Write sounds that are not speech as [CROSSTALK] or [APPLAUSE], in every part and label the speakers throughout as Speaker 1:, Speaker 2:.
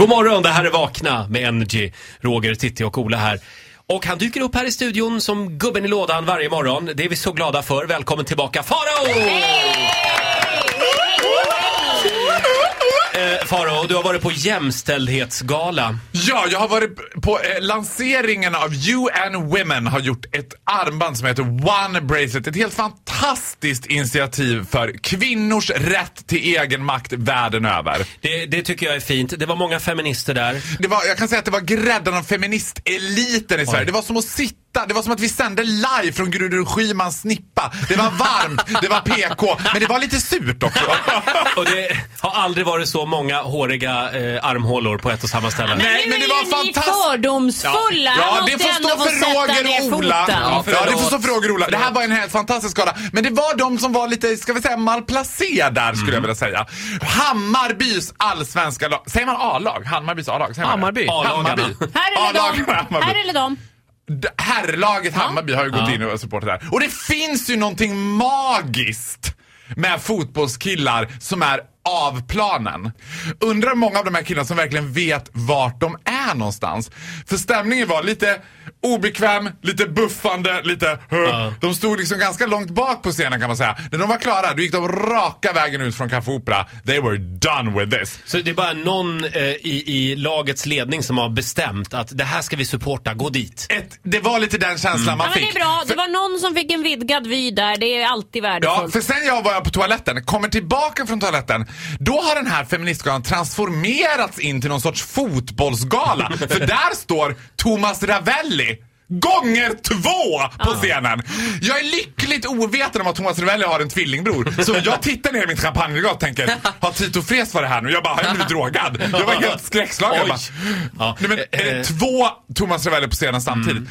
Speaker 1: God morgon, det här är Vakna med Energy. Roger, Titti och Ola här. Och han dyker upp här i studion som gubben i lådan varje morgon. Det är vi så glada för. Välkommen tillbaka Farao! Eh, Farao, du har varit på jämställdhetsgala.
Speaker 2: Ja, jag har varit på eh, lanseringen av UN Women har gjort ett armband som heter One Bracelet. Ett helt fantastiskt initiativ för kvinnors rätt till egen makt världen över.
Speaker 1: Det, det tycker jag är fint. Det var många feminister där.
Speaker 2: Det var, jag kan säga att det var grädden av feministeliten i Sverige. Det var som att sitta, det var som att vi sände live från Gudrun Schymans snippa. Det var varmt, det var PK, men det var lite surt också.
Speaker 1: Och det har aldrig varit så många håriga eh, armhålor på ett och samma ställe.
Speaker 2: Nej, men det var
Speaker 3: Ni
Speaker 2: fantastiskt.
Speaker 3: fördomsfulla.
Speaker 2: Ja,
Speaker 3: Han
Speaker 2: det
Speaker 3: måste
Speaker 2: får stå
Speaker 3: ändå få sätta
Speaker 2: för Roger
Speaker 3: ner
Speaker 2: och Ola.
Speaker 3: foten.
Speaker 2: Ja, ja, det
Speaker 1: förlåt.
Speaker 2: får stå för Roger och Ola. Det här var en helt fantastisk skala. Men det var de som var lite, ska vi säga, malplacerade där skulle jag vilja säga. Hammarbys allsvenska lag. Säger man A-lag? Hammarbys A-lag? Säger man det?
Speaker 4: Hammarby.
Speaker 2: Hammarby.
Speaker 1: A-lagarna.
Speaker 3: Här eller
Speaker 2: A-lagarna,
Speaker 3: dem.
Speaker 2: Hammarby.
Speaker 3: Här eller dem.
Speaker 2: D- Herrlaget Hammarby har ju gått in och supportat där. Och det finns ju någonting magiskt med fotbollskillar som är av planen. Undrar hur många av de här killarna som verkligen vet vart de är någonstans. För stämningen var lite obekväm, lite buffande, lite... De stod liksom ganska långt bak på scenen kan man säga. När de var klara, då gick de raka vägen ut från Café Opera. They were done with this.
Speaker 1: Så det är bara någon eh, i, i lagets ledning som har bestämt att det här ska vi supporta, gå dit.
Speaker 2: Ett, det var lite den känslan man
Speaker 3: Ja, men
Speaker 2: fick.
Speaker 3: det är bra.
Speaker 2: För-
Speaker 3: Det var någon som fick en vidgad vy där. Det är alltid
Speaker 2: Ja,
Speaker 3: värdefullt.
Speaker 2: för sen jag var på toaletten, kommer tillbaka från toaletten, då har den här feministgalan transformerats in till någon
Speaker 1: [LAUGHS]
Speaker 2: sorts fotbollsgala. för där står Thomas Ravelli. Gånger två på scenen! Jag är lyckligt ovetande om att Thomas Ravelli har en tvillingbror. Så jag tittar ner i mitt champagneglas och tänker, har Tito Fres varit här nu? Jag bara, har jag blivit drogad? Jag var helt skräckslagen. Jag
Speaker 1: Oj.
Speaker 2: bara,
Speaker 1: Ja,
Speaker 2: Nej, men, är
Speaker 1: eh, Mm.
Speaker 2: det två Thomas Ravelli på scenen samtidigt?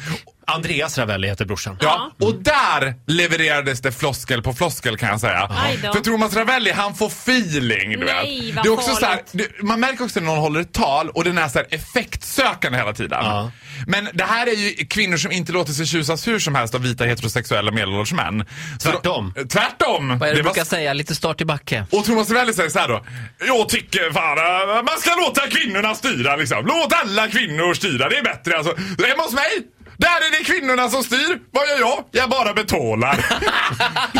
Speaker 1: Andreas Ravelli heter brorsan.
Speaker 2: Ja, och där levererades det floskel på floskel kan jag säga.
Speaker 3: Aj då.
Speaker 2: För Thomas Ravelli, han får feeling. Du
Speaker 3: Nej,
Speaker 2: vet.
Speaker 3: vad
Speaker 2: det är också så här,
Speaker 3: farligt.
Speaker 2: det, man märker också när någon håller ett tal och den är så här effektsökande hela tiden.
Speaker 1: Ja.
Speaker 2: Men det här är ju kvinnor som inte låter sig tjusas hur som helst av vita heterosexuella medelålders män. Så
Speaker 1: Tvärtom.
Speaker 2: De, tvärtom!
Speaker 4: Vad är det,
Speaker 2: Det
Speaker 4: du
Speaker 2: var-
Speaker 4: brukar säga? Lite start i backe.
Speaker 2: och Thomas Ravelli säger så här då. Jag tycker fan eh, man ska låta kvinnorna styra liksom. Låt alla kvinnor styra, det är bättre alltså. Hemma hos mig, där är det kvinnorna som styr. Vad gör jag? Jag bara
Speaker 1: [LAUGHS]
Speaker 2: betalar.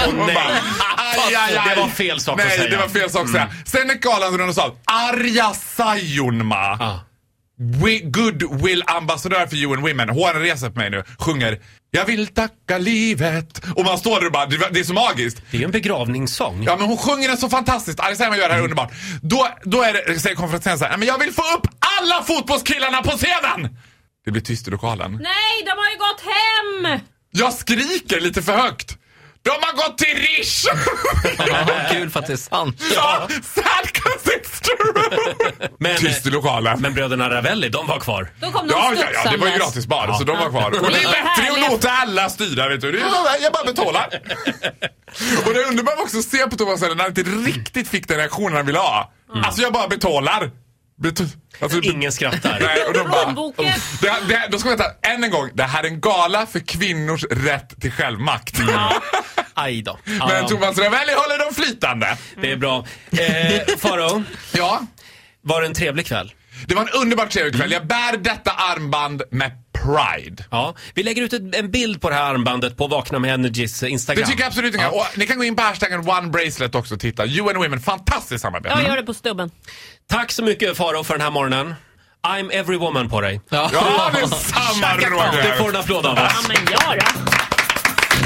Speaker 2: Och
Speaker 1: nej.
Speaker 2: bara, aj, aj, aj.
Speaker 1: Det var fel sak att
Speaker 2: nej,
Speaker 1: säga. Mm.
Speaker 2: det var fel sak att säga. Sen är galan runt och sa Arja Saijonmaa.
Speaker 1: Ja.
Speaker 2: We- Goodwill-ambassadör för UN Women, hon reser på mig nu, sjunger Jag vill tacka livet. Och man står där och bara, det, det är så magiskt.
Speaker 1: Det är ju en begravningssång.
Speaker 2: Ja men hon sjunger den så fantastiskt. Alice Hemma gör det här underbart. Då, då är det, säger konferensen så här, "Nej, men jag vill få upp alla fotbollskillarna på scenen! Det blir tyst i lokalen.
Speaker 3: Nej, de har ju gått hem!
Speaker 2: Jag skriker lite för högt. De har gått till Rish!
Speaker 4: Ja, kul för att det är sant.
Speaker 2: ja, Sadcast is true!
Speaker 1: Men,
Speaker 2: Tyst i lokalen.
Speaker 1: men bröderna Ravelli, de var kvar.
Speaker 3: Då kom de
Speaker 2: Ja, ja, ja, det
Speaker 3: studsandes.
Speaker 2: var ju gratis bar, så de var kvar. Och det är bättre att låta alla styra, vet du. Det är så här, jag bara betalar. Och det underbara var också att se på Thomas Helin när han inte riktigt fick den reaktionen han ville ha. Alltså, jag bara betalar. Bet- alltså, bet-
Speaker 1: Ingen skrattar.
Speaker 2: Nej, och de bara...
Speaker 3: Plånboken.
Speaker 2: Det, det, då ska vi vänta, än en gång. Det här är en gala för kvinnors rätt till självmakt.
Speaker 1: Aj då. Ja,
Speaker 2: Men Thomas Ravelli håller dem flytande.
Speaker 1: det är bra. Eh, Farao,
Speaker 2: Ja.
Speaker 1: var det en trevlig kväll?
Speaker 2: Det var en underbart trevlig kväll. Jag bär detta armband med pride.
Speaker 1: Ja. Vi lägger ut ett, en bild på det här armbandet på Vakna med Energys Instagram.
Speaker 2: Det tycker jag absolut inte.
Speaker 1: Ja.
Speaker 2: Och ni kan gå in på hashtaggen OneBracelet också och titta. UN Women, fantastiskt samarbete.
Speaker 3: Jag gör det på stubben.
Speaker 1: Tack så mycket Farao för den här morgonen. I'm every woman på dig.
Speaker 2: Ja, detsamma
Speaker 1: Du får
Speaker 2: Roger!
Speaker 1: en applåd av
Speaker 3: Ja,
Speaker 1: oss.
Speaker 3: men ja då.